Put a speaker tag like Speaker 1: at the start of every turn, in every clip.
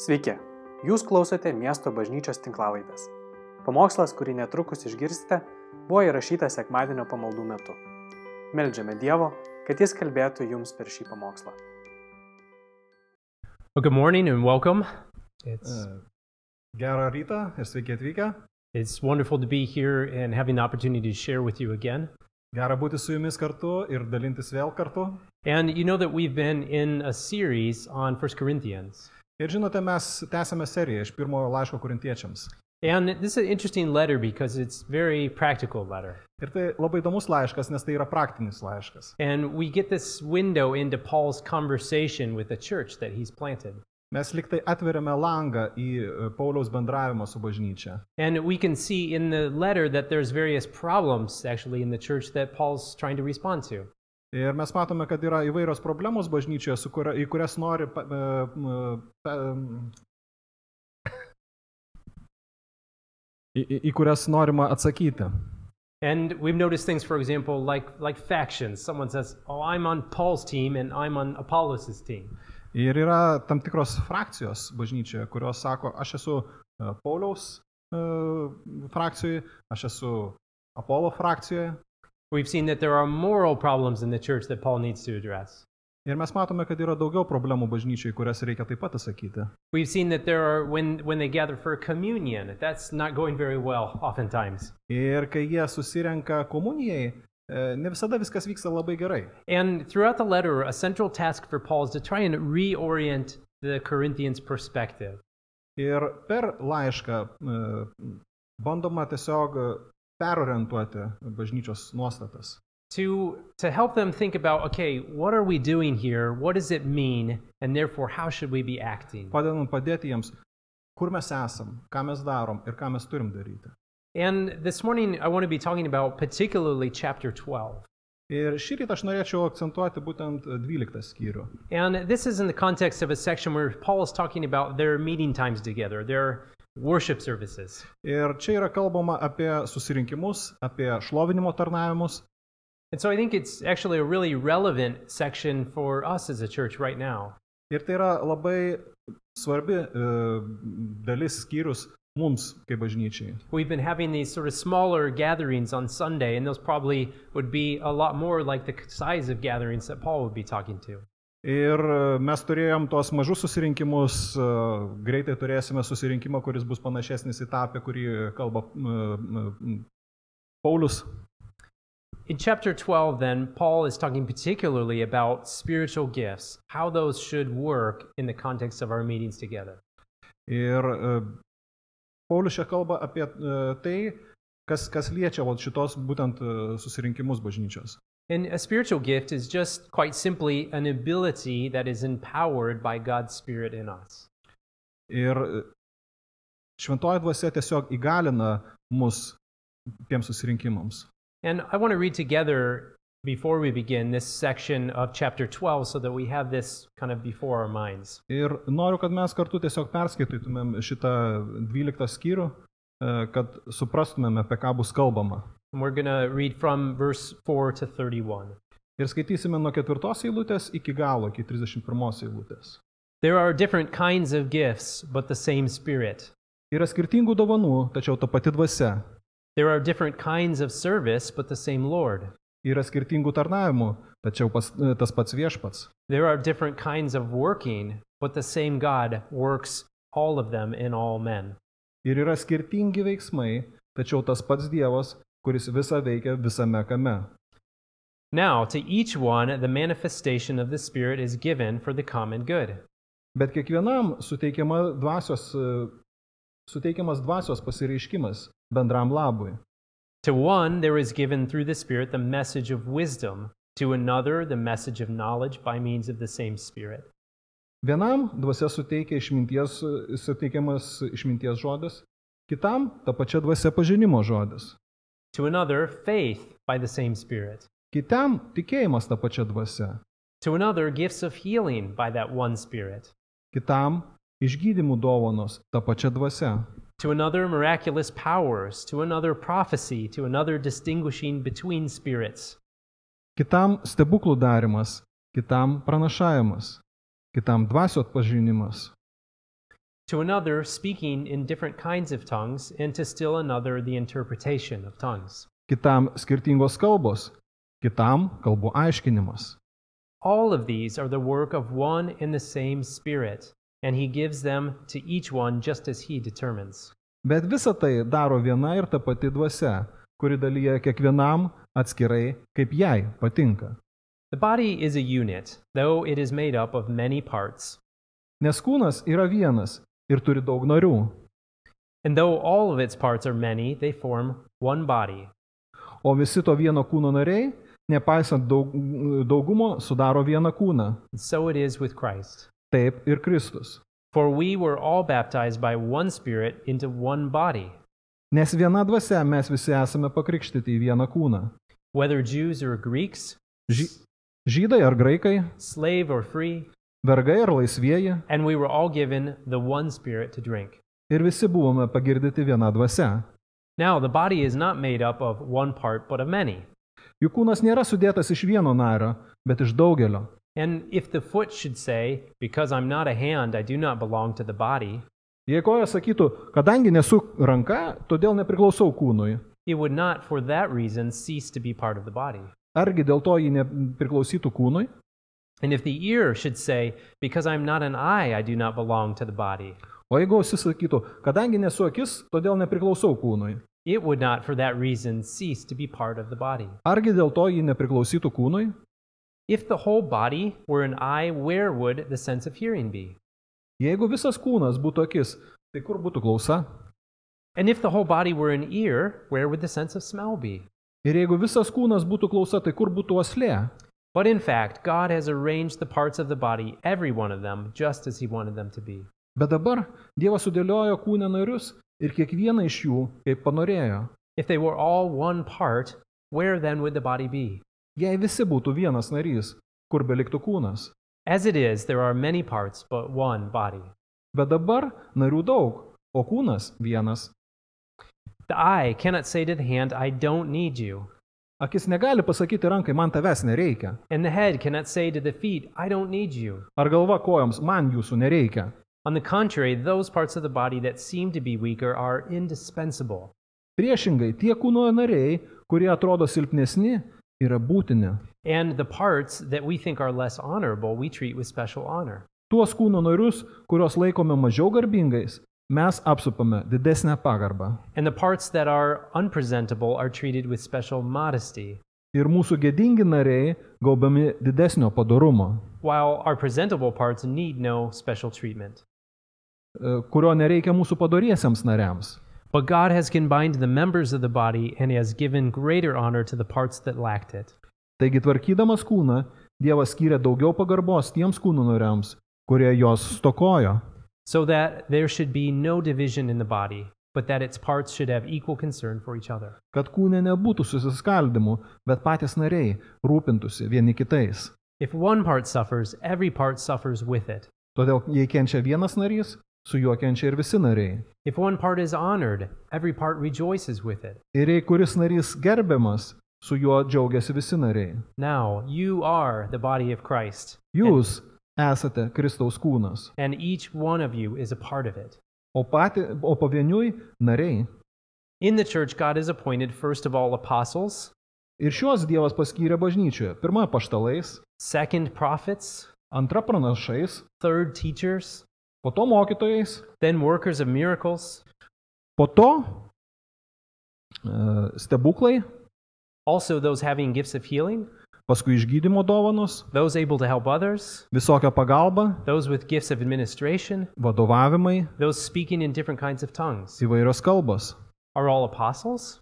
Speaker 1: Sveiki, jūs klausote miesto bažnyčios tinklavaitės. Pamokslas, kurį netrukus išgirsite, buvo įrašytas sekmadienio pamaldų metu. Meldžiame Dievo, kad Jis kalbėtų jums per šį pamokslą.
Speaker 2: Well, good morning and welcome. Uh,
Speaker 3: It's
Speaker 4: E, Gerą rytą ir sveiki atvykę.
Speaker 2: it's wonderful to be here and having the opportunity to share with you again.
Speaker 4: Gera būti su jumis kartu ir dalintis vėl kartu.
Speaker 2: And you know that we've been in a series on 1 Corinthians.
Speaker 4: Ir žinote, mes tęsėme seriją iš pirmojo laiško kurintiečiams.
Speaker 2: And this is an interesting letter because it's very practical letter.
Speaker 4: Ir tai labai įdomus laiškas, nes tai yra praktinis laiškas.
Speaker 2: And we get this window into Paul's conversation with the church that he's planted.
Speaker 4: Mes liktai atveriame langą į e, Pauliaus bendravimą su bažnyčia.
Speaker 2: And we can see in the letter that there's various problems actually in the church that Paul's trying to respond to.
Speaker 4: Ir mes matome, kad yra įvairios problemos bažnyčioje, su kuria, į kurias nori... Pa, e, m, pa, m, Į, į, į kurias norima atsakyti.
Speaker 2: And we've noticed things, for example, like, like factions. Someone says, Oh, I'm on Paul's team and I'm on Apollos' team.
Speaker 4: Ir yra tam tikros frakcijos bažnyčioje, kurios sako, aš esu e, Pauliaus e, frakcijoje, aš esu Apollo frakcijoje.
Speaker 2: We've seen that there are moral problems in the church that Paul needs to address.
Speaker 4: Ir mes matome, kad yra daugiau problemų bažnyčiai, kurias reikia taip pat atsakyti.
Speaker 2: We've seen that there are, when, when they gather for communion, that's not going very well oftentimes.
Speaker 4: Ir kai jie susirenka komunijai, e, ne visada viskas vyksta labai gerai.
Speaker 2: And throughout the letter, a central task for Paul is to try and reorient the Corinthians' perspective.
Speaker 4: Ir per laišką e, bandoma tiesiog e, perorientuoti bažnyčios nuostatas.
Speaker 2: to to help them think about okay what are we doing here what does it mean and therefore how should we be acting
Speaker 4: Padedant padėti jiems, kur mes esam, ką mes darom ir ką mes turim daryti.
Speaker 2: and this morning i want to be talking about particularly chapter 12
Speaker 4: Ir šį rytą aš norėčiau akcentuoti būtent 12 skyrių.
Speaker 2: and this is in the context of a section where paul is talking about their meeting times together their worship services
Speaker 4: Ir čia yra kalbama apie susirinkimus, apie šlovinimo tarnavimus.
Speaker 2: and so i think it's actually a really relevant section for us as a church right now
Speaker 4: Ir tai yra labai svarbi e, dalis skyrius mums kaip bažnyčiai.
Speaker 2: we've been having these sort of smaller gatherings on sunday and those probably would be a lot more like the size of gatherings that paul would be talking to
Speaker 4: Ir e, mes turėjom tuos mažus susirinkimus, e, greitai turėsime susirinkimą, kuris bus panašesnis į tą, apie kurį kalba e, e, Paulius.
Speaker 2: In chapter 12, then, Paul is talking particularly about spiritual gifts, how those should work in the context of our meetings together.
Speaker 4: Ir e, Paulius čia kalba apie e, tai, kas, kas liečia vat šitos būtent e, susirinkimus bažnyčios.
Speaker 2: And a spiritual gift is just quite simply an ability that is empowered by God's Spirit in us.
Speaker 4: Ir e, šventoji dvasia tiesiog įgalina mus tiems susirinkimams.
Speaker 2: And I want to read together before we begin this section of chapter 12 so that we have this kind of before our minds.
Speaker 4: Ir noriu, kad mes kartu tiesiog perskaitytumėm šitą 12 skyrių, e, kad suprastumėm, apie ką bus kalbama.
Speaker 2: And we're going to read from verse 4 to 31.
Speaker 4: Ir skaitysime nuo ketvirtos eilutės iki galo, iki 31 eilutės.
Speaker 2: There are different kinds of gifts, but the same Spirit.
Speaker 4: Yra skirtingų dovanų, tačiau ta pati dvasia.
Speaker 2: There are different kinds of service, but the same Lord.
Speaker 4: Yra skirtingų tarnavimų, tačiau pas, e, tas pats viešpats.
Speaker 2: There are different kinds of working, but the same God works all of them in all men.
Speaker 4: Ir yra skirtingi veiksmai, tačiau tas pats Dievas, kuris visą veikia visame kame.
Speaker 2: Now, to each one, the manifestation of the Spirit is given for the common good.
Speaker 4: Bet kiekvienam suteikiama dvasios, e, suteikiamas dvasios pasireiškimas bendram labui.
Speaker 2: To one, there is given through the Spirit the message of wisdom, to another, the message of knowledge by means of the same Spirit.
Speaker 4: Vienam dvasia suteikia išminties, e, suteikiamas išminties žodis, kitam ta pačia dvasia pažinimo žodis,
Speaker 2: To another, faith by the same Spirit.
Speaker 4: kitam tikėjimas ta pačia dvasia,
Speaker 2: To another, gifts of healing by that one Spirit.
Speaker 4: kitam išgydymų dovanos ta pačia dvasia,
Speaker 2: to another miraculous powers, to another prophecy, to another distinguishing between spirits,
Speaker 4: kitam stebuklų darimas, kitam pranašavimas, kitam dvasio atpažinimas,
Speaker 2: to another speaking in different kinds of tongues, and to still another the interpretation of tongues.
Speaker 4: kitam skirtingos kalbos, kitam kalbų aiškinimas.
Speaker 2: All of these are the work of one and the same Spirit, and He gives them to each one just as He determines.
Speaker 4: Bet visa tai daro viena ir ta pati dvasia, kuri dalyja kiekvienam atskirai, kaip jai patinka.
Speaker 2: The body is a unit, though it is made up of many parts.
Speaker 4: Nes kūnas yra vienas ir turi daug narių,
Speaker 2: And though all of its parts are many, they form one body.
Speaker 4: o visi to vieno kūno nariai, nepaisant daug, daugumo, sudaro vieną kūną.
Speaker 2: And so it is with Christ.
Speaker 4: Taip ir Kristus.
Speaker 2: For we were all baptized by one Spirit into one body,
Speaker 4: Nes viena dvasia mes visi esame pakrikštyti į vieną kūną.
Speaker 2: whether Jews or Greeks,
Speaker 4: Ži žydai ar graikai,
Speaker 2: slave or free,
Speaker 4: vergai ar laisvieji,
Speaker 2: and we were all given the one Spirit to drink.
Speaker 4: ir visi buvome pagirdyti viena dvasia.
Speaker 2: Now, the body is not made up of one part, but of many.
Speaker 4: Juk kūnas nėra sudėtas iš vieno nario, bet iš daugelio.
Speaker 2: And if the foot should say, Because I'm not a hand, I do not belong to the body,
Speaker 4: Jei koja sakytų, kadangi nesu ranka, todėl nepriklausau kūnui,
Speaker 2: it would not for that reason cease to be part of the body.
Speaker 4: argi dėl to ji nepriklausytų kūnui?
Speaker 2: And if the ear should say, Because I'm not an eye, I do not belong to the body,
Speaker 4: O jeigu ausis sakytų, kadangi nesu akis, todėl nepriklausau kūnui,
Speaker 2: it would not for that reason cease to be part of the body.
Speaker 4: argi dėl to ji nepriklausytų kūnui?
Speaker 2: If the whole body were an eye, where would the sense of hearing be?
Speaker 4: Jeigu visas kūnas būtų akis, tai kur būtų klausa?
Speaker 2: And if the whole body were an ear, where would the sense of smell be?
Speaker 4: Ir jeigu visas kūnas būtų klausa, tai kur būtų oslė?
Speaker 2: But in fact, God has arranged the parts of the body, every one of them, just as He wanted them to be.
Speaker 4: Bet dabar Dievas sudėliojo kūnę narius ir kiekvieną iš jų, kaip panorėjo.
Speaker 2: If they were all one part, where then would the body be?
Speaker 4: Jei visi būtų vienas narys, kur beliktų kūnas?
Speaker 2: As it is, there are many parts, but one body.
Speaker 4: Bet dabar narių daug, o kūnas vienas.
Speaker 2: The eye cannot say to the hand, I don't need you.
Speaker 4: Akis negali pasakyti rankai, man tavęs nereikia.
Speaker 2: And the head cannot say to the feet, I don't need you.
Speaker 4: Ar galva kojoms, man jūsų nereikia.
Speaker 2: On the contrary, those parts of the body that seem to be weaker are indispensable.
Speaker 4: Priešingai, tie kūno nariai, kurie atrodo silpnesni, yra būtini.
Speaker 2: And the parts that we think are less honorable, we treat with special honor.
Speaker 4: Tuos kūno narius, kuriuos laikome mažiau garbingais, mes apsupame didesnę pagarbą.
Speaker 2: And the parts that are unpresentable are treated with special modesty,
Speaker 4: Ir mūsų gėdingi nariai gaubiami didesnio padarumo,
Speaker 2: while our presentable parts need no special treatment.
Speaker 4: e, kurio nereikia mūsų padoriesiems nariams.
Speaker 2: But God has combined the members of the body and has given greater honor to the parts that lacked it,
Speaker 4: Taigi tvarkydamas kūną, Dievas skyrė daugiau pagarbos tiems kūno nariams, kurie jos stokojo,
Speaker 2: so that there should be no division in the body, but that its parts should have equal concern for each other.
Speaker 4: kad kūne nebūtų susiskaldimų, bet patys nariai rūpintųsi vieni kitais.
Speaker 2: If one part suffers, every part suffers with it.
Speaker 4: Todėl, jei kenčia vienas narys, su juo kenčia ir visi nariai.
Speaker 2: If one part is honored, every part rejoices with it.
Speaker 4: Ir jei kuris narys gerbiamas, su juo džiaugiasi visi nariai.
Speaker 2: Now, you are the body of Christ,
Speaker 4: Jūs esate Kristaus kūnas,
Speaker 2: and each one of you is a part of it.
Speaker 4: o, pati, o pavieniui nariai.
Speaker 2: In the church, God has appointed, first of all, apostles,
Speaker 4: Ir šios Dievas paskyrė bažnyčioje. Pirma paštalais,
Speaker 2: second, prophets,
Speaker 4: antra pranašais,
Speaker 2: third, teachers,
Speaker 4: po to mokytojais,
Speaker 2: then, workers of miracles,
Speaker 4: po to e, stebuklai,
Speaker 2: also those having gifts of healing,
Speaker 4: paskui išgydymo dovanos,
Speaker 2: those able to help others,
Speaker 4: visokia pagalba,
Speaker 2: those with gifts of administration,
Speaker 4: vadovavimai,
Speaker 2: those speaking in different kinds of tongues.
Speaker 4: įvairios kalbos.
Speaker 2: Are all apostles?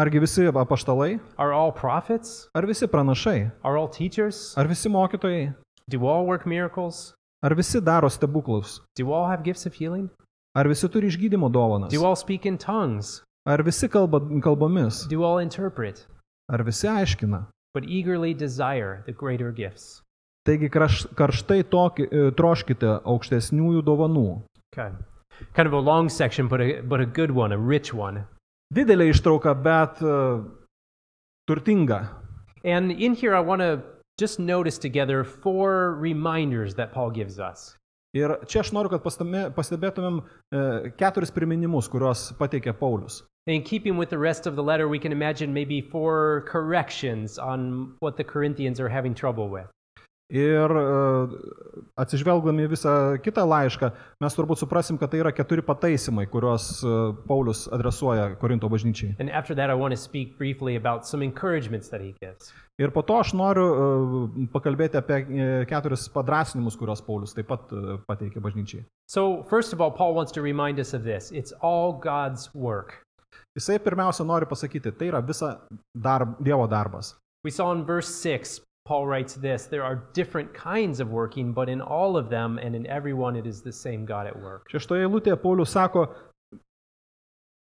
Speaker 4: Argi visi apaštalai,
Speaker 2: Are all prophets?
Speaker 4: ar visi pranašai,
Speaker 2: Are all teachers?
Speaker 4: ar visi mokytojai,
Speaker 2: Do all work miracles?
Speaker 4: ar visi daro stebuklus,
Speaker 2: Do all have gifts of healing?
Speaker 4: ar visi turi išgydymo dovanas,
Speaker 2: Do all speak in tongues?
Speaker 4: ar visi kalba kalbomis,
Speaker 2: Do all interpret?
Speaker 4: ar visi aiškina.
Speaker 2: But eagerly desire the greater gifts.
Speaker 4: Taigi kraš- karštai toki, e, troškite aukštesniųjų dovanų.
Speaker 2: Okay. Kind of a long section, but a, but a good one, a rich one.
Speaker 4: Didelė ištrauka, bet e, turtinga.
Speaker 2: And in here, I want to just notice together four reminders that Paul gives us.
Speaker 4: Ir čia aš noriu, kad pastami- pastebėtumėm e, keturis priminimus, kuriuos pateikė Paulius.
Speaker 2: In keeping with the rest of the letter, we can imagine maybe four corrections on what the Corinthians are having trouble with.
Speaker 4: Ir e, atsižvelgdami į visą kitą laišką, mes turbūt suprasim, kad tai yra keturi pataisimai, kuriuos e, Paulius adresuoja Korinto bažnyčiai.
Speaker 2: And after that, I want to speak briefly about some encouragements that he gives.
Speaker 4: Ir po to aš noriu e, pakalbėti apie e, keturis padrasinimus, kuriuos Paulius taip pat e, pateikė bažnyčiai.
Speaker 2: So, first of all, Paul wants to remind us of this it's all God's work.
Speaker 4: Jisai pirmiausia nori pasakyti, tai yra visa darb, Dievo darbas.
Speaker 2: We saw in verse 6, Paul writes this there are different kinds of working, but in all of them and in everyone, it is the same God at work.
Speaker 4: Šeštoje eilutėje Paulius sako,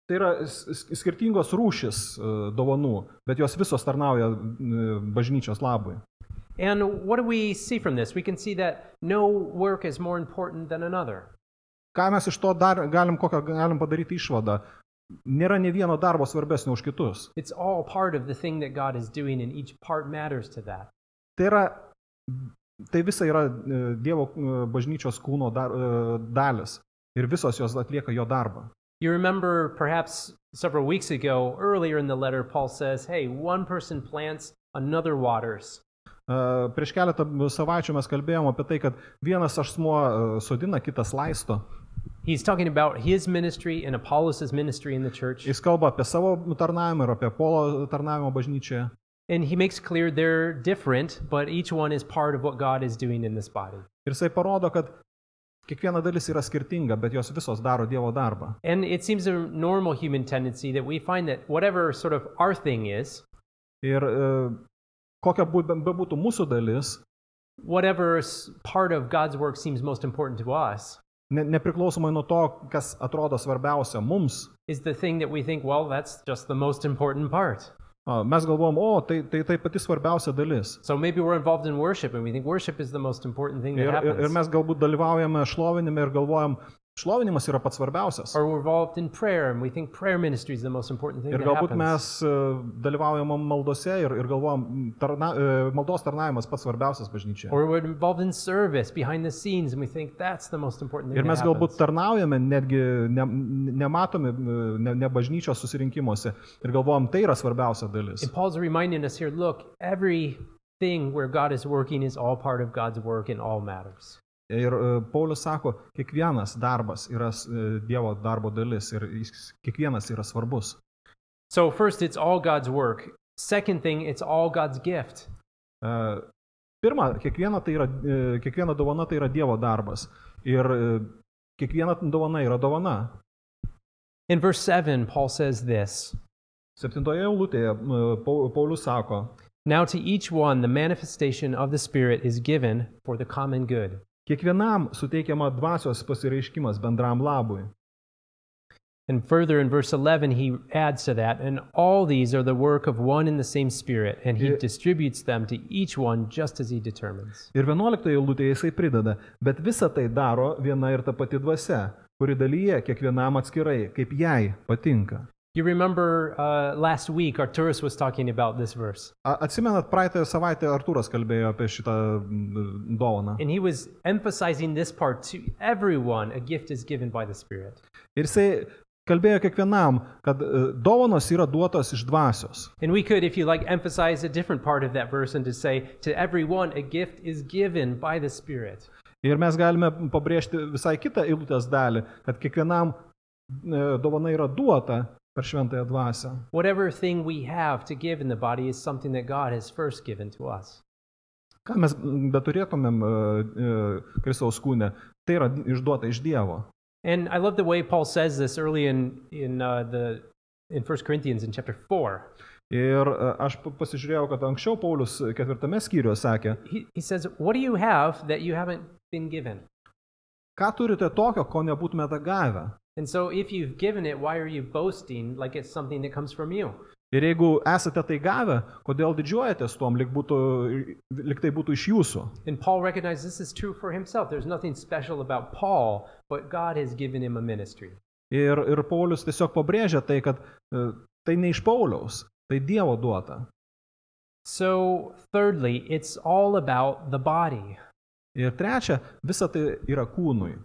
Speaker 4: tai yra s- s- skirtingos rūšis e, dovanų, bet jos visos tarnauja e, bažnyčios labui.
Speaker 2: And what do we see from this? We can see that no work is more important than another.
Speaker 4: Ką mes iš to dar galim, kokią galim padaryti išvadą? Nėra ne vieno darbo svarbesnio už kitus.
Speaker 2: It's all part of the thing that God is doing, and each part matters to that.
Speaker 4: Tai yra, tai visa yra e, Dievo e, bažnyčios kūno dar, e, dalis ir visos jos atlieka jo darbą.
Speaker 2: You remember perhaps several weeks ago, earlier in the letter, Paul says, Hey, one person plants, another waters.
Speaker 4: E, Prieš keletą savaičių mes kalbėjom apie tai, kad vienas asmuo e, sodina, kitas laisto.
Speaker 2: He's talking about his ministry and Apollos' ministry in the church.
Speaker 4: Jis kalba apie savo tarnavimą ir apie polo tarnavimą bažnyčioje.
Speaker 2: And he makes clear they're different, but each one is part of what God is doing in this body.
Speaker 4: Ir jisai parodo, kad kiekviena dalis yra skirtinga, bet jos visos daro Dievo darbą.
Speaker 2: And it seems a normal human tendency that we find that whatever sort of our thing is,
Speaker 4: Ir e, kokia bū- be- bebūtų mūsų dalis,
Speaker 2: whatever s- part of God's work seems most important to us
Speaker 4: ne, nepriklausomai nuo to, kas atrodo svarbiausia mums,
Speaker 2: is the thing that we think, well, that's just the most important part.
Speaker 4: a, mes galvom, o tai, tai, tai pati svarbiausia dalis.
Speaker 2: So maybe we're involved in worship and we think worship is the most important thing that
Speaker 4: Ir, ir, ir
Speaker 2: happens.
Speaker 4: mes galbūt dalyvaujame šlovinime ir galvojam, šlovinimas yra pats svarbiausias.
Speaker 2: Or we're involved in prayer and we think prayer ministry is the most important thing
Speaker 4: Ir
Speaker 2: that
Speaker 4: galbūt
Speaker 2: happens.
Speaker 4: mes e, dalyvaujam maldose ir, ir galvojam, tarna, e, maldos tarnavimas pats svarbiausias bažnyčioje.
Speaker 2: Or we're involved in service behind the scenes and we think that's the most important thing
Speaker 4: Ir
Speaker 2: that
Speaker 4: mes galbūt
Speaker 2: happens.
Speaker 4: tarnaujame, netgi ne, nematomi, ne, ne bažnyčios susirinkimuose ir galvojam, tai yra svarbiausia dalis.
Speaker 2: And Paul's reminding us here, look, everything where God is working is all part of God's work in all matters.
Speaker 4: Ir e, Paulius sako, kiekvienas darbas yra s- e, Dievo darbo dalis ir jis- kiekvienas yra svarbus.
Speaker 2: So first, it's all God's work. Second thing, it's all God's gift.
Speaker 4: E, Pirma, kiekviena, tai yra, e, kiekviena dovana tai yra Dievo darbas. Ir e, kiekviena dovana yra dovana.
Speaker 2: In verse 7, Paul says this
Speaker 4: Septintoje eilutėje e, Pau- Paulius sako,
Speaker 2: Now to each one the manifestation of the Spirit is given for the common good.
Speaker 4: kiekvienam suteikiama dvasios pasireiškimas bendram labui.
Speaker 2: And further in verse 11, he adds to that, and all these are the work of one and the same Spirit, and he
Speaker 4: Yeah.
Speaker 2: distributes them to each one just as he determines.
Speaker 4: Ir 11 eilutėje jisai prideda, bet visa tai daro viena ir ta pati dvasia, kuri dalyje kiekvienam atskirai, kaip jai patinka.
Speaker 2: You remember uh, last week, Arturus was talking about this verse,
Speaker 4: A- Atsimenat, praeitą savaitę Artūras kalbėjo apie šitą mm, dovaną.
Speaker 2: and he was emphasizing this part to everyone a gift is given by the Spirit.
Speaker 4: Ir jisai kalbėjo kiekvienam, kad e, dovanos yra duotos iš dvasios.
Speaker 2: And we could, if you like, emphasize a different part of that verse and to say, to everyone, a gift is given by the Spirit.
Speaker 4: Ir mes galime pabrėžti visai kitą eilutės dalį, kad kiekvienam e, dovana yra duota per šventąją dvasią.
Speaker 2: Whatever thing we have to give in the body is something that God has first given to us.
Speaker 4: Ką mes mm, beturėtumėm e, e, Kristaus kūne, tai yra išduota iš Dievo.
Speaker 2: And I love the way Paul says this early in, in, uh, the, in 1 Corinthians in chapter 4.
Speaker 4: Ir e, aš pa- pasižiūrėjau, kad anksčiau Paulius ketvirtame skyriuje sakė,
Speaker 2: He, he says, What do you have that you haven't been given?
Speaker 4: ką turite tokio, ko nebūtumėte gavę.
Speaker 2: And so if you've given it, why are you boasting like it's something that comes from you?
Speaker 4: Ir jeigu esate tai gavę, kodėl didžiuojatės tuom, lik, būtų, lik tai būtų iš jūsų.
Speaker 2: And Paul recognized this is true for himself. There's nothing special about Paul, but God has given him a ministry.
Speaker 4: Ir, ir Paulius tiesiog pabrėžia tai, kad e, tai ne iš Pauliaus, tai Dievo duota.
Speaker 2: So, thirdly, it's all about the body.
Speaker 4: Ir trečia, visa tai yra kūnui.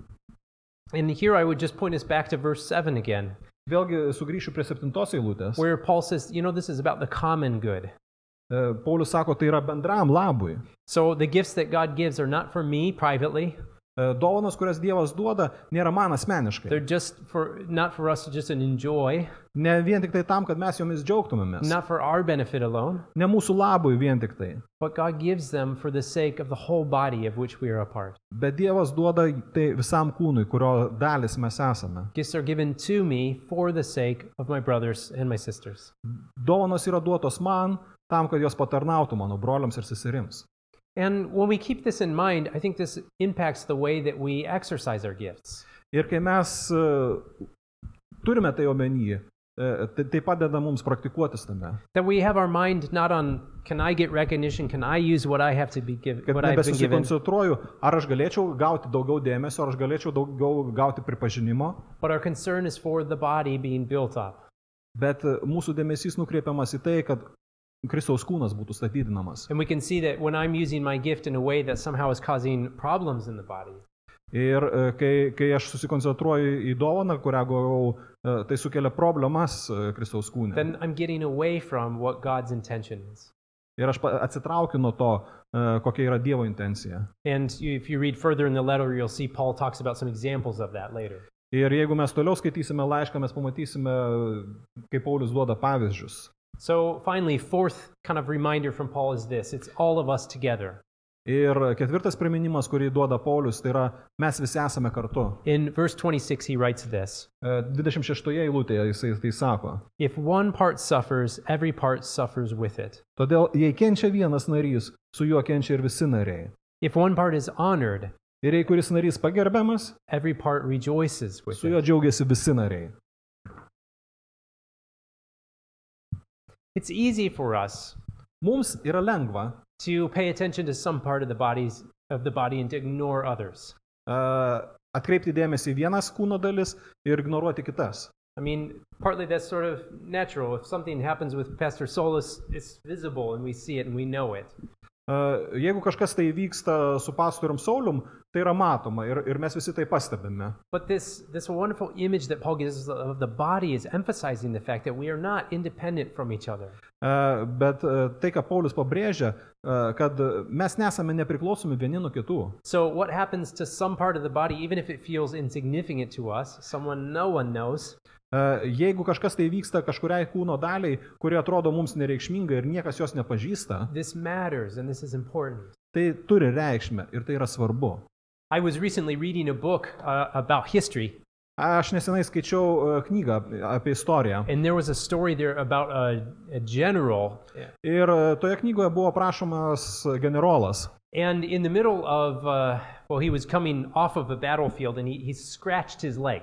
Speaker 2: And here I would just point us back to verse 7 again,
Speaker 4: Vėlgi sugrįšiu prie septintos eilutės.
Speaker 2: where Paul says, you know, this is about the common good.
Speaker 4: E, Paulius sako, tai yra bendram labui.
Speaker 2: So the gifts that God gives are not for me privately.
Speaker 4: E, Dovanos, kurias Dievas duoda, nėra man asmeniškai.
Speaker 2: They're just for not for us to just enjoy,
Speaker 4: Ne vien tik tai tam, kad mes jomis džiaugtumėmės.
Speaker 2: not for our benefit alone,
Speaker 4: Ne mūsų labui vien tik tai.
Speaker 2: but God gives them for the sake of the whole body of which we are a part.
Speaker 4: Bet Dievas duoda tai visam kūnui, kurio dalis mes esame.
Speaker 2: Gifts are given to me for the sake of my brothers and my sisters.
Speaker 4: Dovanos yra duotos man tam, kad jos patarnautų mano broliams ir seserims.
Speaker 2: And when we keep this in mind, I think this impacts the way that we exercise our gifts.
Speaker 4: Ir kai mes e, turime tai omenyje, tai tai padeda mums praktikuotis tame.
Speaker 2: That we have our mind not on can I get recognition, can I use what I have to be given,
Speaker 4: Kad
Speaker 2: what I've been given,
Speaker 4: nebesusikoncentruoju, ar aš galėčiau gauti daugiau dėmesio, ar aš galėčiau daugiau gauti pripažinimo,
Speaker 2: but our concern is for the body being built up.
Speaker 4: bet e, mūsų dėmesys nukreipiamas į tai, kad Kristaus kūnas būtų statydinamas.
Speaker 2: And we can see that when I'm using my gift in a way that somehow is causing problems in the body,
Speaker 4: Ir e, kai, kai aš susikoncentruoju į dovaną, kurią gavau, e, tai sukelia problemas e, Kristaus kūne.
Speaker 2: then I'm getting away from what God's intention is.
Speaker 4: Ir aš pa- atsitraukiu nuo to, e, kokia yra Dievo intencija.
Speaker 2: And you, if you read further in the letter, you'll see Paul talks about some examples of that later.
Speaker 4: Ir jeigu mes toliau skaitysime laišką, mes pamatysime, kaip Paulius duoda pavyzdžius.
Speaker 2: So, finally, fourth kind of reminder from Paul is this it's all of us together.
Speaker 4: Ir ketvirtas priminimas, kurį duoda Paulius, tai yra mes visi esame kartu.
Speaker 2: In verse 26, he writes this
Speaker 4: E, 26 eilutėje jisai tai sako.
Speaker 2: If one part suffers, every part suffers with it.
Speaker 4: Todėl, jei kenčia vienas narys, su juo kenčia ir visi nariai.
Speaker 2: If one part is honored,
Speaker 4: Ir jei kuris narys pagerbiamas,
Speaker 2: every part rejoices with
Speaker 4: su juo
Speaker 2: it.
Speaker 4: džiaugiasi visi nariai.
Speaker 2: It's easy for us
Speaker 4: Mums yra lengva
Speaker 2: to pay attention to some part of the bodies of the body and to ignore others.
Speaker 4: e, atkreipti dėmesį į vienas kūno dalis ir ignoruoti kitas.
Speaker 2: I mean, partly that's sort of natural. If something happens with Pastor Solis, it's visible and we see it and we know it.
Speaker 4: E, Jeigu kažkas tai vyksta su pastorium Saulium, tai yra matoma ir, ir mes visi tai pastebime.
Speaker 2: But this, this wonderful image that Paul gives us of the body is emphasizing the fact that we are not independent from each other.
Speaker 4: E, Bet e, tai, ką Paulius pabrėžia, e, kad mes nesame nepriklausomi vieni nuo kitų.
Speaker 2: So, what happens to some part of the body, even if it feels insignificant to us, someone no one knows,
Speaker 4: E, Jeigu kažkas tai vyksta kažkuriai kūno daliai, kuri atrodo mums nereikšminga ir niekas jos nepažįsta,
Speaker 2: this matters and this is important.
Speaker 4: tai turi reikšmę ir tai yra svarbu.
Speaker 2: I was recently reading a book uh, about history,
Speaker 4: Aš nesenai skaičiau e, knygą apie istoriją
Speaker 2: and there was a story there about a, a general.
Speaker 4: ir e, toje knygoje buvo aprašomas generolas.
Speaker 2: And in the middle of, uh, well, he was coming off of a battlefield and he, he scratched his leg.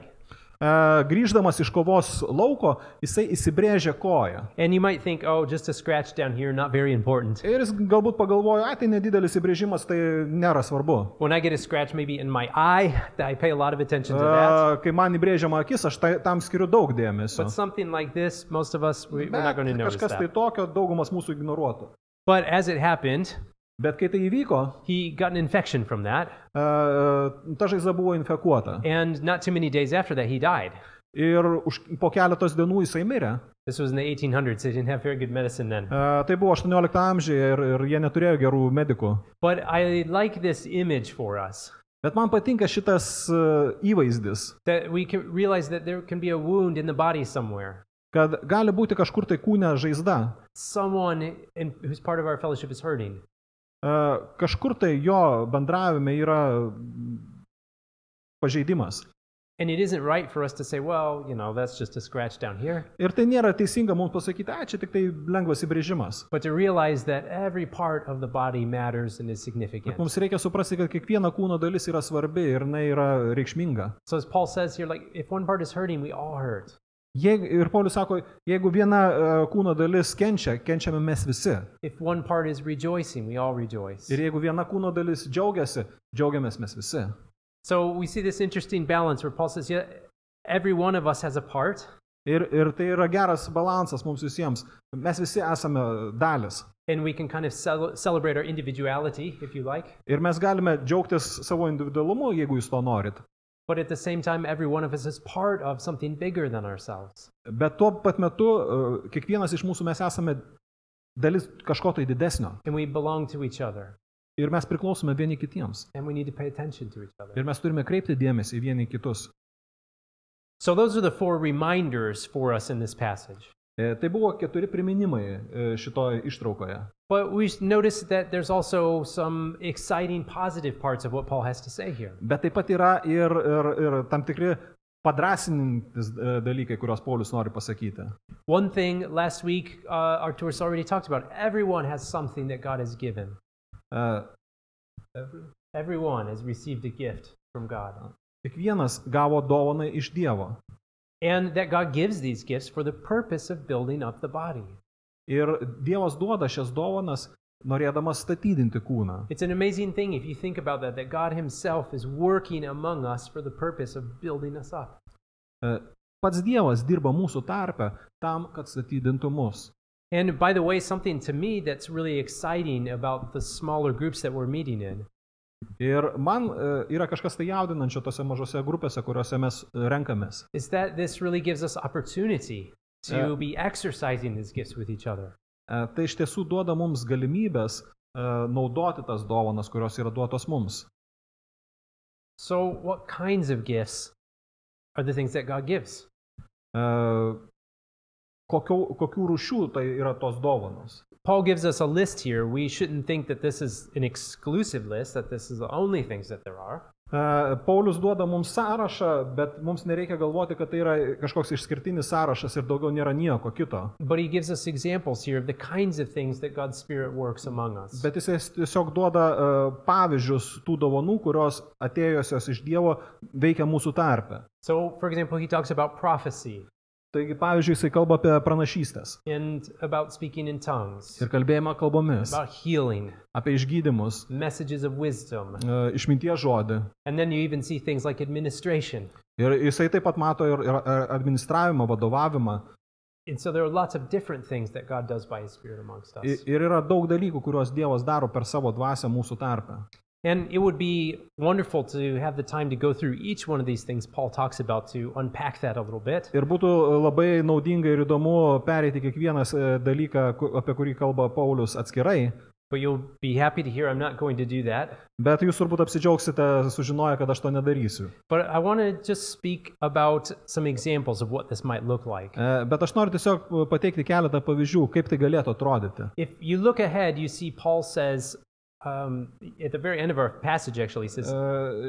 Speaker 4: E, Grįždamas iš kovos lauko, jisai įsibrėžė koją.
Speaker 2: And you might think, oh, just a scratch down here, not very important.
Speaker 4: Ir jis galbūt pagalvojo, ai tai nedidelis įbrėžimas, tai nėra svarbu.
Speaker 2: When I get a scratch, maybe in my eye, I pay a lot of attention to that.
Speaker 4: A, kai man įbrėžiama akis, aš tai, tam skiriu daug dėmesio.
Speaker 2: But something like this, most of us, we, we're not going to
Speaker 4: Bet
Speaker 2: notice
Speaker 4: kažkas tai
Speaker 2: that.
Speaker 4: tokio daugumas mūsų ignoruotų.
Speaker 2: But as it happened,
Speaker 4: Bet kai tai įvyko,
Speaker 2: he got an infection from that.
Speaker 4: a, ta žaizda buvo infekuota.
Speaker 2: And not too many days after that, he died.
Speaker 4: Ir už, po keletos dienų jisai mirė.
Speaker 2: This was in the 1800s. They didn't have very good medicine then.
Speaker 4: A, tai buvo 18 amžiuje ir, ir jie neturėjo gerų medikų.
Speaker 2: But I like this image for us
Speaker 4: Bet man patinka šitas a, įvaizdis,
Speaker 2: that we can realize that there can be a wound in the body somewhere.
Speaker 4: kad gali būti kažkur tai kūne žaizda.
Speaker 2: Someone in, who's part of our fellowship is hurting.
Speaker 4: A, Kažkur tai jo bendravime yra mm, pažeidimas.
Speaker 2: And it isn't right for us to say, well, you know, that's just a scratch down here.
Speaker 4: Ir tai nėra teisinga mums pasakyti, ai, čia tik tai lengvas įbrėžimas.
Speaker 2: But to realize that every part of the body matters and is significant.
Speaker 4: Bet mums reikia suprasti, kad kiekviena kūno dalis yra svarbi ir jinai yra reikšminga.
Speaker 2: So as Paul says here, like if one part is hurting, we all hurt.
Speaker 4: Jeigu, ir Paulius sako, jeigu viena e, kūno dalis kenčia, kenčiame mes visi.
Speaker 2: If one part is rejoicing, we all rejoice.
Speaker 4: Ir jeigu viena kūno dalis džiaugiasi, džiaugiamės mes visi.
Speaker 2: So we see this interesting balance where Paul says, yeah, every one of us has a part,
Speaker 4: Ir, ir tai yra geras balansas mums visiems. Mes visi esame dalis.
Speaker 2: and we can kind of cel- celebrate our individuality, if you like.
Speaker 4: Ir mes galime džiaugtis savo individualumu, jeigu jūs to norit.
Speaker 2: But at the same time, every one of us is part of something bigger than ourselves.
Speaker 4: Bet tuo pat metu e, kiekvienas iš mūsų mes esame dalis kažko tai didesnio.
Speaker 2: And we belong to each other.
Speaker 4: Ir mes priklausome vieni kitiems.
Speaker 2: And we need to pay attention to each other.
Speaker 4: Ir mes turime kreipti dėmesį į vieni kitus.
Speaker 2: So, those are the four reminders for us in this passage.
Speaker 4: E, Tai buvo keturi priminimai e, šitoje ištraukoje.
Speaker 2: But we notice that there's also some exciting, positive parts of what Paul has to say here.
Speaker 4: Bet taip pat yra ir, ir, ir tam tikri padrasinantis e, dalykai, kuriuos Paulius nori pasakyti.
Speaker 2: One thing last week, uh, Arturus already talked about everyone has something that God has given.
Speaker 4: E,
Speaker 2: Everyone has received a gift from God.
Speaker 4: Kiekvienas gavo dovaną iš Dievo.
Speaker 2: And that God gives these gifts for the purpose of building up the body.
Speaker 4: Ir Dievas duoda šias dovanas, norėdamas statydinti kūną.
Speaker 2: It's an amazing thing if you think about that, that God Himself is working among us for the purpose of building us up.
Speaker 4: E, Pats Dievas dirba mūsų tarpe tam, kad statydintų mus.
Speaker 2: And by the way, something to me that's really exciting about the smaller groups that we're meeting in
Speaker 4: Ir man e, yra kažkas tai jaudinančio tose mažose grupėse, kuriuose mes e, renkamės.
Speaker 2: is that this really gives us opportunity to
Speaker 4: Yeah.
Speaker 2: be exercising these gifts with each other.
Speaker 4: E, Tai iš tiesų duoda mums galimybės e, naudoti tas dovanas, kurios yra duotos mums.
Speaker 2: So, what kinds of gifts are the things that God gives?
Speaker 4: E, Kokio, kokių rūšių tai yra tos dovanos.
Speaker 2: Paul gives us a list here. We shouldn't think that this is an exclusive list, that this is the only things that there are.
Speaker 4: E, Paulius duoda mums sąrašą, bet mums nereikia galvoti, kad tai yra kažkoks išskirtinis sąrašas ir daugiau nėra nieko kito.
Speaker 2: But he gives us examples here of the kinds of things that God's Spirit works among us.
Speaker 4: Bet jis tiesiog duoda e, pavyzdžius tų dovanų, kurios atėjusios iš Dievo veikia mūsų tarpe.
Speaker 2: so, for example, he talks about prophecy
Speaker 4: Taigi, pavyzdžiui, jisai kalba apie pranašystės
Speaker 2: and about speaking in tongues,
Speaker 4: ir kalbėjimą kalbomis,
Speaker 2: about healing,
Speaker 4: apie išgydymus,
Speaker 2: messages of wisdom.
Speaker 4: e, išminties žodį.
Speaker 2: And then you even see things like administration.
Speaker 4: Ir jisai taip pat mato ir, ir administravimą, vadovavimą.
Speaker 2: And so there are lots of different things that God does by his Spirit amongst us.
Speaker 4: I- Ir yra daug dalykų, kuriuos Dievas daro per savo dvasę mūsų tarpe.
Speaker 2: And it would be wonderful to have the time to go through each one of these things Paul talks about to unpack that a little bit.
Speaker 4: Ir būtų e, labai naudinga ir įdomu pereiti kiekvienas e, dalyką, ku- apie kurį kalba Paulius atskirai.
Speaker 2: But you'll be happy to hear I'm not going to do that.
Speaker 4: Bet jūs turbūt apsidžiaugsite sužinoję, kad aš to nedarysiu.
Speaker 2: But I want to just speak about some examples of what this might look like.
Speaker 4: E, Bet aš noriu tiesiog pateikti keletą pavyzdžių, kaip tai galėtų atrodyti.
Speaker 2: If you look ahead, you see Paul says, um, at the very end of our passage, actually, he says,
Speaker 4: E,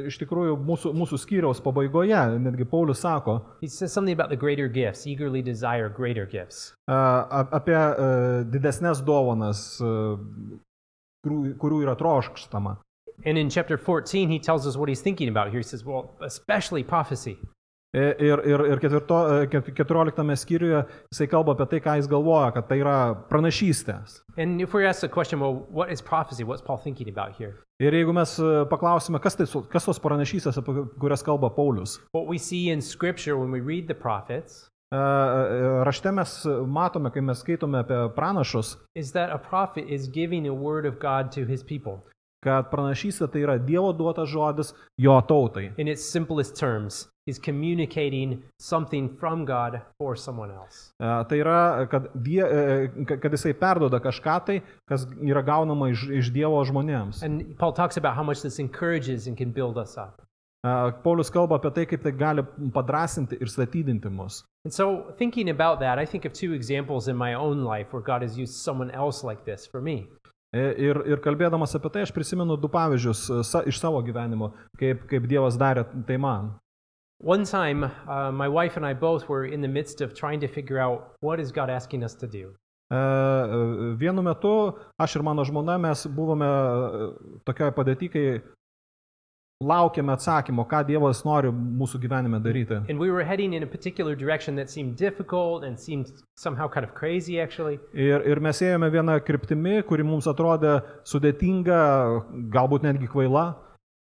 Speaker 4: Iš tikrųjų, mūsų, mūsų skyriaus pabaigoje netgi Paulius sako e,
Speaker 2: he says something about the greater gifts, eagerly desire greater gifts.
Speaker 4: a- apie e, didesnės dovanas, e, kurių, kurių yra troškštama.
Speaker 2: And in chapter 14, he tells us what he's thinking about here. He says, well, especially prophecy.
Speaker 4: E, Ir, ir, ir ketvirto, e, ket- 14 skyriuje jisai kalba apie tai, ką jis galvoja, kad tai yra pranašystės.
Speaker 2: And if we're asked the question, well, what is prophecy? What's Paul thinking about here?
Speaker 4: Ir jeigu mes e, paklausime, kas, tai, su- kas tos pranašystės, apie kurias kalba Paulius,
Speaker 2: What we see in Scripture when we read the prophets
Speaker 4: E, e, rašte mes matome, kai mes skaitome apie pranašus,
Speaker 2: is that a prophet is giving a word of God to his people
Speaker 4: kad pranašystė tai yra Dievo duotas žodis jo tautai.
Speaker 2: in its simplest terms. He's communicating something from God for someone else.
Speaker 4: E, Tai yra, kad, die, e, ka- kad jisai perdoda kažką tai, kas yra gaunama iš, iš Dievo žmonėms. E,
Speaker 2: And Paul talks about how much this encourages and can build us up.
Speaker 4: E, Paulius kalba apie tai, kaip tai gali padrasinti ir statydinti mus.
Speaker 2: And so, thinking about that, I think of two examples in my own life where God has used someone else like this for me.
Speaker 4: E, Ir, ir kalbėdamas apie tai, aš prisimenu du pavyzdžius e, sa, iš savo gyvenimo, kaip, kaip Dievas darė tai man.
Speaker 2: One time, uh, my wife and I both were in the midst of trying to figure out what is God asking us to do.
Speaker 4: E, e, Vienu metu aš ir mano žmona mes buvome e, tokioje padėtyje, kai laukiame atsakymo, ką Dievas nori mūsų gyvenime daryti.
Speaker 2: And we were heading in a particular direction that seemed difficult and seemed somehow kind of crazy, actually.
Speaker 4: Ir, ir mes ėjome vieną kryptimį, kuri mums atrodė sudėtinga, galbūt netgi kvaila.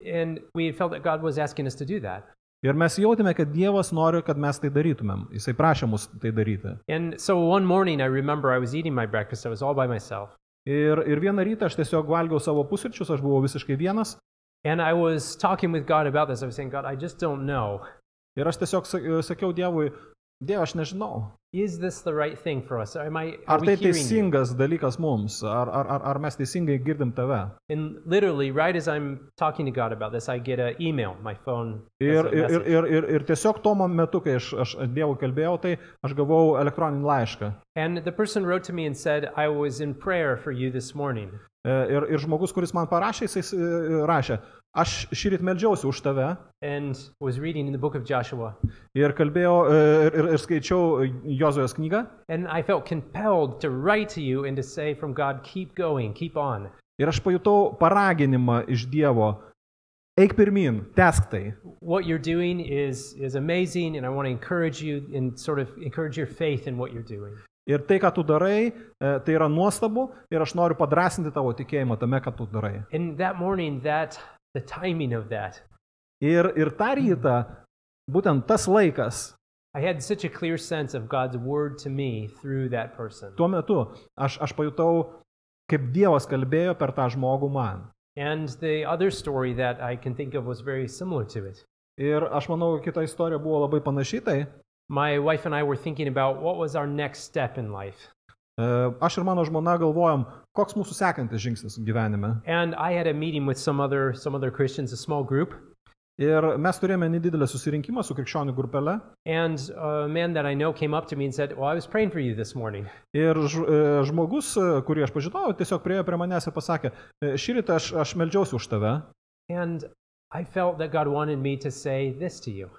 Speaker 2: And we felt that God was asking us to do that.
Speaker 4: Ir mes jautėme, kad Dievas nori, kad mes tai darytumėm. Jisai prašė mus tai daryti.
Speaker 2: And so one morning, I remember I was eating my breakfast. I was all by myself.
Speaker 4: Ir, ir vieną rytą aš tiesiog valgiau savo pusryčius, aš buvau visiškai vienas.
Speaker 2: And I was talking with God about this. I was saying, God, I just don't know.
Speaker 4: Ir aš tiesiog sa- sakiau Dievui, Dieve, aš nežinau,
Speaker 2: Is this the right thing for us? Am I are
Speaker 4: ar
Speaker 2: we
Speaker 4: tai
Speaker 2: hearing you?
Speaker 4: teisingas dalykas mums, ar, ar, ar, ar mes teisingai girdim tave.
Speaker 2: And literally, right as I'm talking to God about this, I get an email. My phone. has
Speaker 4: Ir,
Speaker 2: a
Speaker 4: ir, ir,
Speaker 2: message.
Speaker 4: ir, ir, ir tiesiog tuo metu, kai aš, aš Dievui kalbėjau, tai aš gavau elektroninį laišką.
Speaker 2: And the person wrote to me and said, I was in prayer for you this morning.
Speaker 4: E, Ir, ir žmogus, kuris man parašė, jis rašė, aš šį rytą melžiausi už tave
Speaker 2: and was reading in the book of Joshua.
Speaker 4: ir kalbėjau e, ir, ir, ir skaičiau Jozojos knygą
Speaker 2: And I felt compelled to write to you and to say from God, keep going, keep on.
Speaker 4: ir aš pajutau paraginimą iš Dievo, eik pirmin, tesk tai.
Speaker 2: What you're doing is, is amazing, and I want to encourage you and sort of encourage your faith in what you're doing.
Speaker 4: Ir tai, ką tu darai, e, tai yra nuostabu ir aš noriu padrasinti tavo tikėjimą tame, ką tu darai.
Speaker 2: And that morning, that the timing of that,
Speaker 4: Ir, ir tą rytą, būtent tas laikas,
Speaker 2: I had such a clear sense of God's word to me through that person.
Speaker 4: tuo metu aš, aš pajutau, kaip Dievas kalbėjo per tą žmogų man.
Speaker 2: And the other story that I can think of was very similar to it.
Speaker 4: Ir aš manau, kita istorija buvo labai panašiai tai.
Speaker 2: My wife and I were thinking about what was our next step in life.
Speaker 4: E, Aš ir mano žmona galvojom, koks mūsų sekantis žingsnis gyvenime.
Speaker 2: And I had a meeting with some other some other Christians, a small group,
Speaker 4: Ir mes turėjome nedidelę susirinkimą su krikščionių grupele.
Speaker 2: and a man that I know came up to me and said, "Well, I was praying for you this morning."
Speaker 4: Ir ž- e, žmogus, e, kurį aš pažinojau, tiesiog priejo prie manęs ir pasakė, "E, šį rytą aš, aš melžiausi už tave.
Speaker 2: And I felt that God wanted me to say this to you.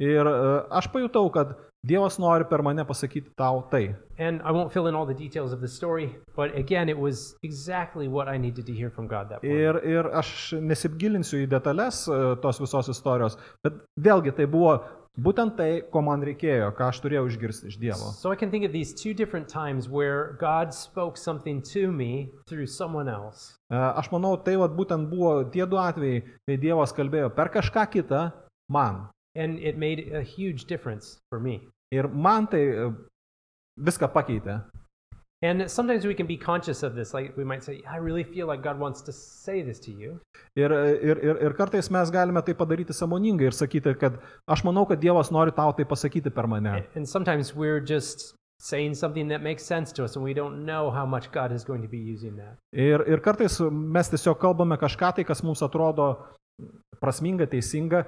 Speaker 4: Ir e, aš pajutau, kad Dievas nori per mane pasakyti tau tai.
Speaker 2: And I won't fill in all the details of the story, but again, it was exactly what I needed to hear from God that morning.
Speaker 4: Ir, ir aš nesigilinsiu į detalės e, tos visos istorijos, bet vėlgi tai buvo būtent tai, ko man reikėjo, ką aš turėjau išgirsti iš Dievo.
Speaker 2: So I can think of these two different times where God spoke something to me through someone else.
Speaker 4: E, Aš manau, tai vat, būtent buvo tie du atvejai, kai Dievas kalbėjo per kažką kitą man.
Speaker 2: And it made a huge difference for me.
Speaker 4: Ir man tai e, viską pakeitė.
Speaker 2: And sometimes we can be conscious of this. Like we might say, I really feel like God wants to say this to you.
Speaker 4: Ir, e, ir, ir, ir kartais mes galime tai padaryti samoningai ir sakyti, kad aš manau, kad Dievas nori tau tai pasakyti per mane.
Speaker 2: And sometimes we're just saying something that makes sense to us and we don't know how much God is going to be using that.
Speaker 4: Ir, ir kartais mes tiesiog kalbame kažką tai, kas mums atrodo prasminga, teisinga,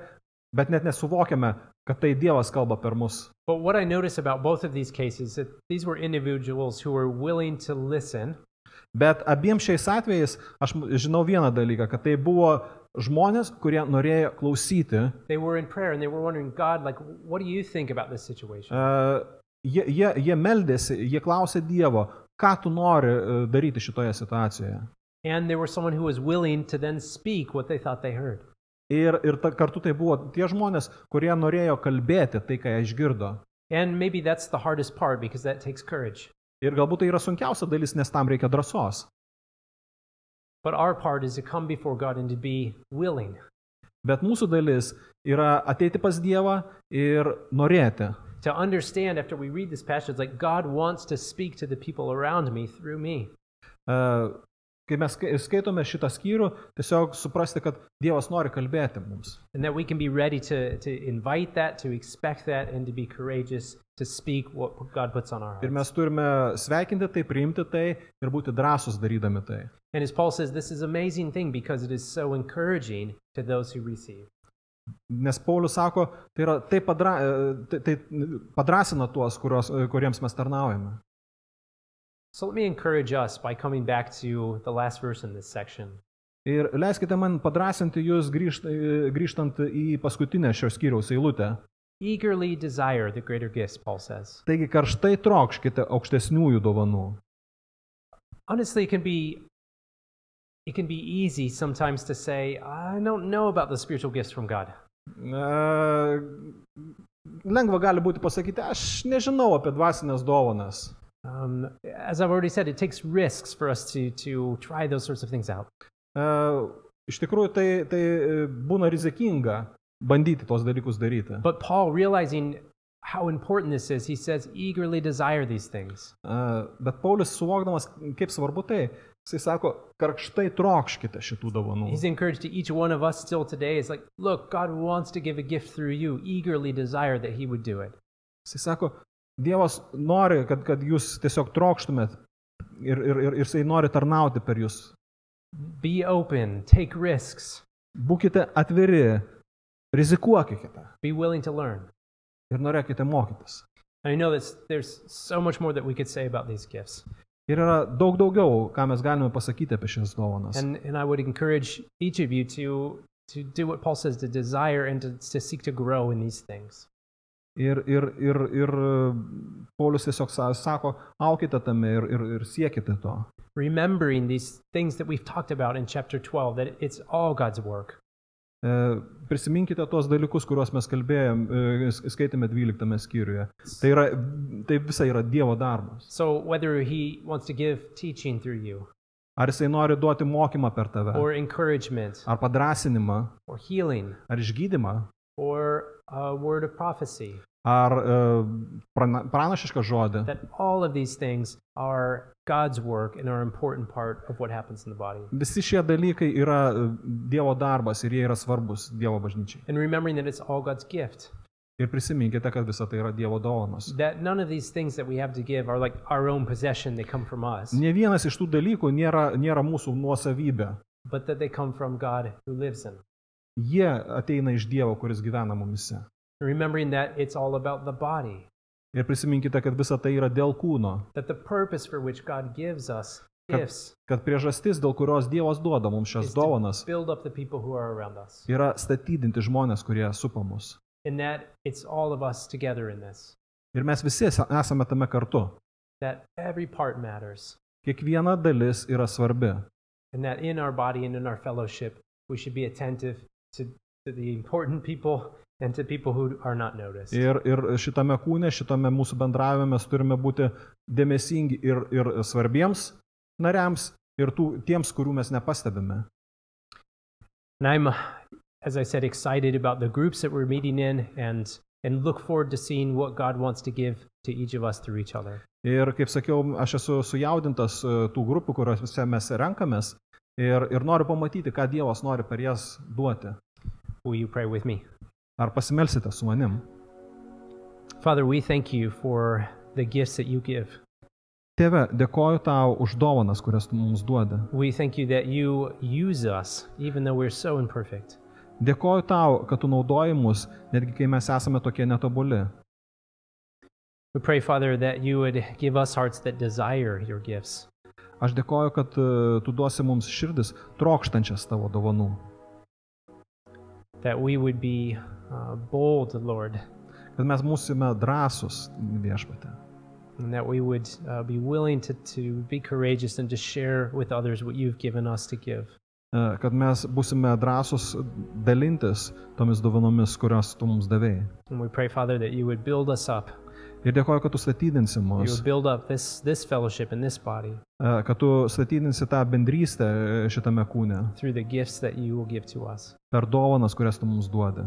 Speaker 4: bet net nesuvokiame, kad tai Dievas kalba per mus.
Speaker 2: But what I notice about both of these cases that these were individuals who were willing to listen
Speaker 4: Bet abiems šiais atvejais aš m- žinau vieną dalyką, kad tai buvo žmonės, kurie norėjo klausyti. e,
Speaker 2: they were in prayer and they were wondering god like what do you think about this situation
Speaker 4: E, Jie, jie, jie meldėsi, jie klausė Dievo, ką tu nori e, daryti šitoje situacijoje.
Speaker 2: and there was someone who was willing to then speak what they thought they heard
Speaker 4: Ir, ir ta, kartu tai buvo tie žmonės, kurie norėjo kalbėti tai, ką jie išgirdo.
Speaker 2: and maybe that's the hardest part because that takes courage
Speaker 4: Ir galbūt tai yra sunkiausia dalis, nes tam reikia drąsos.
Speaker 2: but our part is to come before god and to be willing
Speaker 4: Bet mūsų dalis yra ateiti pas Dievą ir norėti. E,
Speaker 2: to understand after we read this passage like god wants to speak to the people around me through me
Speaker 4: E, Kai mes skai- skaitome šitą skyrių, tiesiog suprasti, kad Dievas nori kalbėti mums.
Speaker 2: and that we can be ready to, to invite that to expect that and to be courageous to speak what god puts on our hearts
Speaker 4: Ir mes turime sveikinti tai, priimti tai ir būti drąsus darydami tai.
Speaker 2: And as Paul says, this is an amazing thing because it is so encouraging to those who receive.
Speaker 4: Nes Paulius sako, tai, yra, tai, padra, e, tai, tai padrasina tuos, kurios, e, kuriems mes tarnaujame.
Speaker 2: So let me encourage us by coming back to the last verse in this section.
Speaker 4: Ir leiskite man padrasinti jūs grįžt, e, grįžtant į paskutinę šios skyriaus eilutę.
Speaker 2: Eagerly desire the greater gifts, Paul says.
Speaker 4: Taigi karštai trokškite aukštesniųjų dovanų.
Speaker 2: Honestly, it can be it can be easy sometimes to say, I don't know about the spiritual gifts from God.
Speaker 4: E, Lengva gali būti pasakyti, aš nežinau apie dvasinės dovanas.
Speaker 2: Um, as I've already said, it takes risks for us to to try those sorts of things out.
Speaker 4: E, Iš tikrųjų, tai, tai e, būna rizikinga bandyti tos dalykus daryti.
Speaker 2: But Paul, realizing how important this is, he says, eagerly desire these things.
Speaker 4: E, Bet Paulius suvokdamas, kaip svarbu tai, Jis sako, karštai trokškite šitų dovanų.
Speaker 2: He's encouraged to each one of us still today. It's like, look, God wants to give a gift through you. Eagerly desire that He would do it.
Speaker 4: Jis sako, Dievas nori, kad, kad jūs tiesiog trokštumėt ir, ir, ir ir jisai nori tarnauti per jūs.
Speaker 2: Be open, take risks,
Speaker 4: Būkite atviri, rizikuokite
Speaker 2: be willing to learn.
Speaker 4: ir norėkite mokytis.
Speaker 2: And I know that there's so much more that we could say about these gifts.
Speaker 4: Ir yra daug daugiau, ką mes galime pasakyti apie šias dovanas.
Speaker 2: And, and I would encourage each of you to, to do what Paul says to desire and to, to seek to grow in these things.
Speaker 4: Ir, ir, ir, ir e, Paulius tiesiog sa- sako, aukite tame ir, ir, ir siekite to.
Speaker 2: Remembering these things that we've talked about in chapter 12, that it's all God's work.
Speaker 4: E, Prisiminkite tuos dalykus, kuriuos mes kalbėjom, e, s- skaitėme 12 skyriuje. Tai, yra, tai visa yra Dievo darbas.
Speaker 2: So, whether He wants to give teaching through you,
Speaker 4: Ar jisai nori duoti mokymą per tave,
Speaker 2: or encouragement,
Speaker 4: ar padrasinimą,
Speaker 2: or healing,
Speaker 4: ar išgydymą,
Speaker 2: or a word of prophecy,
Speaker 4: ar e, prana- pranašišką žodį.
Speaker 2: that all of these things are God's work and are an important part of what happens in the body.
Speaker 4: Visi šie dalykai yra e, Dievo darbas ir jie yra svarbus Dievo bažnyčiai.
Speaker 2: And remembering that it's all God's gift,
Speaker 4: Ir prisiminkite, kad visa tai yra Dievo dovanos.
Speaker 2: that none of these things that we have to give are like our own possession, they come from us,
Speaker 4: Ne vienas iš tų dalykų nėra, nėra mūsų nuosavybė.
Speaker 2: but that they come from God who lives in. us.
Speaker 4: Jie ateina iš Dievo, kuris gyvena mumise.
Speaker 2: And remembering that it's all about the body,
Speaker 4: Ir prisiminkite, kad visa tai yra dėl kūno.
Speaker 2: that the purpose for which God gives us
Speaker 4: Yep.
Speaker 2: gifts
Speaker 4: Kad priežastis, dėl kurios Dievas duoda mums šias
Speaker 2: Jis-
Speaker 4: dovanas,
Speaker 2: build up the people who are around us,
Speaker 4: yra statydinti žmonės, kurie supa mus.
Speaker 2: and that it's all of us together in this,
Speaker 4: Ir mes visi esa- esame tame kartu.
Speaker 2: that every part matters,
Speaker 4: Kiekviena dalis yra svarbi.
Speaker 2: and that in our body and in our fellowship, we should be attentive to, to the important people and to people who are not noticed.
Speaker 4: Ir, ir šitame kūne, šitame mūsų bendravime mes turime būti dėmesingi ir, ir svarbiems nariams, ir tų, tiems, kurių mes nepastebime.
Speaker 2: And I'm, uh, as I said, excited about the groups that we're meeting in and, and look forward to seeing what God wants to give to each of us through each other.
Speaker 4: Ir kaip sakiau, aš esu sujaudintas e, tų grupių, kuriuose mes renkamės, ir, ir noriu pamatyti, ką Dievas nori per jas duoti.
Speaker 2: Will you pray with me?
Speaker 4: Ar pasimelsite su manim?
Speaker 2: Father, we thank you for the gifts that you give.
Speaker 4: Tėve, dėkoju tau už dovanas, kurias tu mums duodi.
Speaker 2: We thank you that you use us, even though we're so imperfect.
Speaker 4: Dėkoju tau, kad tu naudoji mus, netgi kai mes esame tokie netobuli.
Speaker 2: We pray, Father, that you would give us hearts that desire your gifts.
Speaker 4: Aš dėkoju, kad e, tu duosi mums širdis trokštančias tavo dovanų.
Speaker 2: that we would be uh, bold, Lord,
Speaker 4: Kad mes būsime drąsus viešpate.
Speaker 2: and that we would uh, be willing to, to be courageous and to share with others what you've given us to give.
Speaker 4: E, Kad mes būsime drąsus dalintis tomis dovanomis, kurias tu mums davėjai.
Speaker 2: And we pray, Father, that you would build us up.
Speaker 4: Ir dėkoju, kad tu statydinsi
Speaker 2: You
Speaker 4: mus,
Speaker 2: would build up this, this fellowship and this body
Speaker 4: e, kad tu statydinsi tą bendrystę e, šitame kūne
Speaker 2: through the gifts that you will give to us.
Speaker 4: per dovanas, kurias tu mums duodi.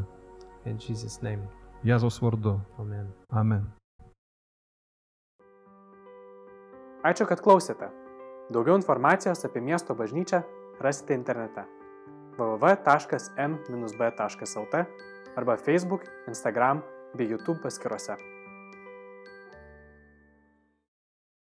Speaker 2: In Jesus' name,
Speaker 4: Jėzaus vardu.
Speaker 2: amen.
Speaker 4: Amen.
Speaker 1: Ačiū, kad klausėte. Daugiau informacijos apie miesto bažnyčią rasite internete www.m-b.lt arba Facebook, Instagram bei YouTube paskiruose.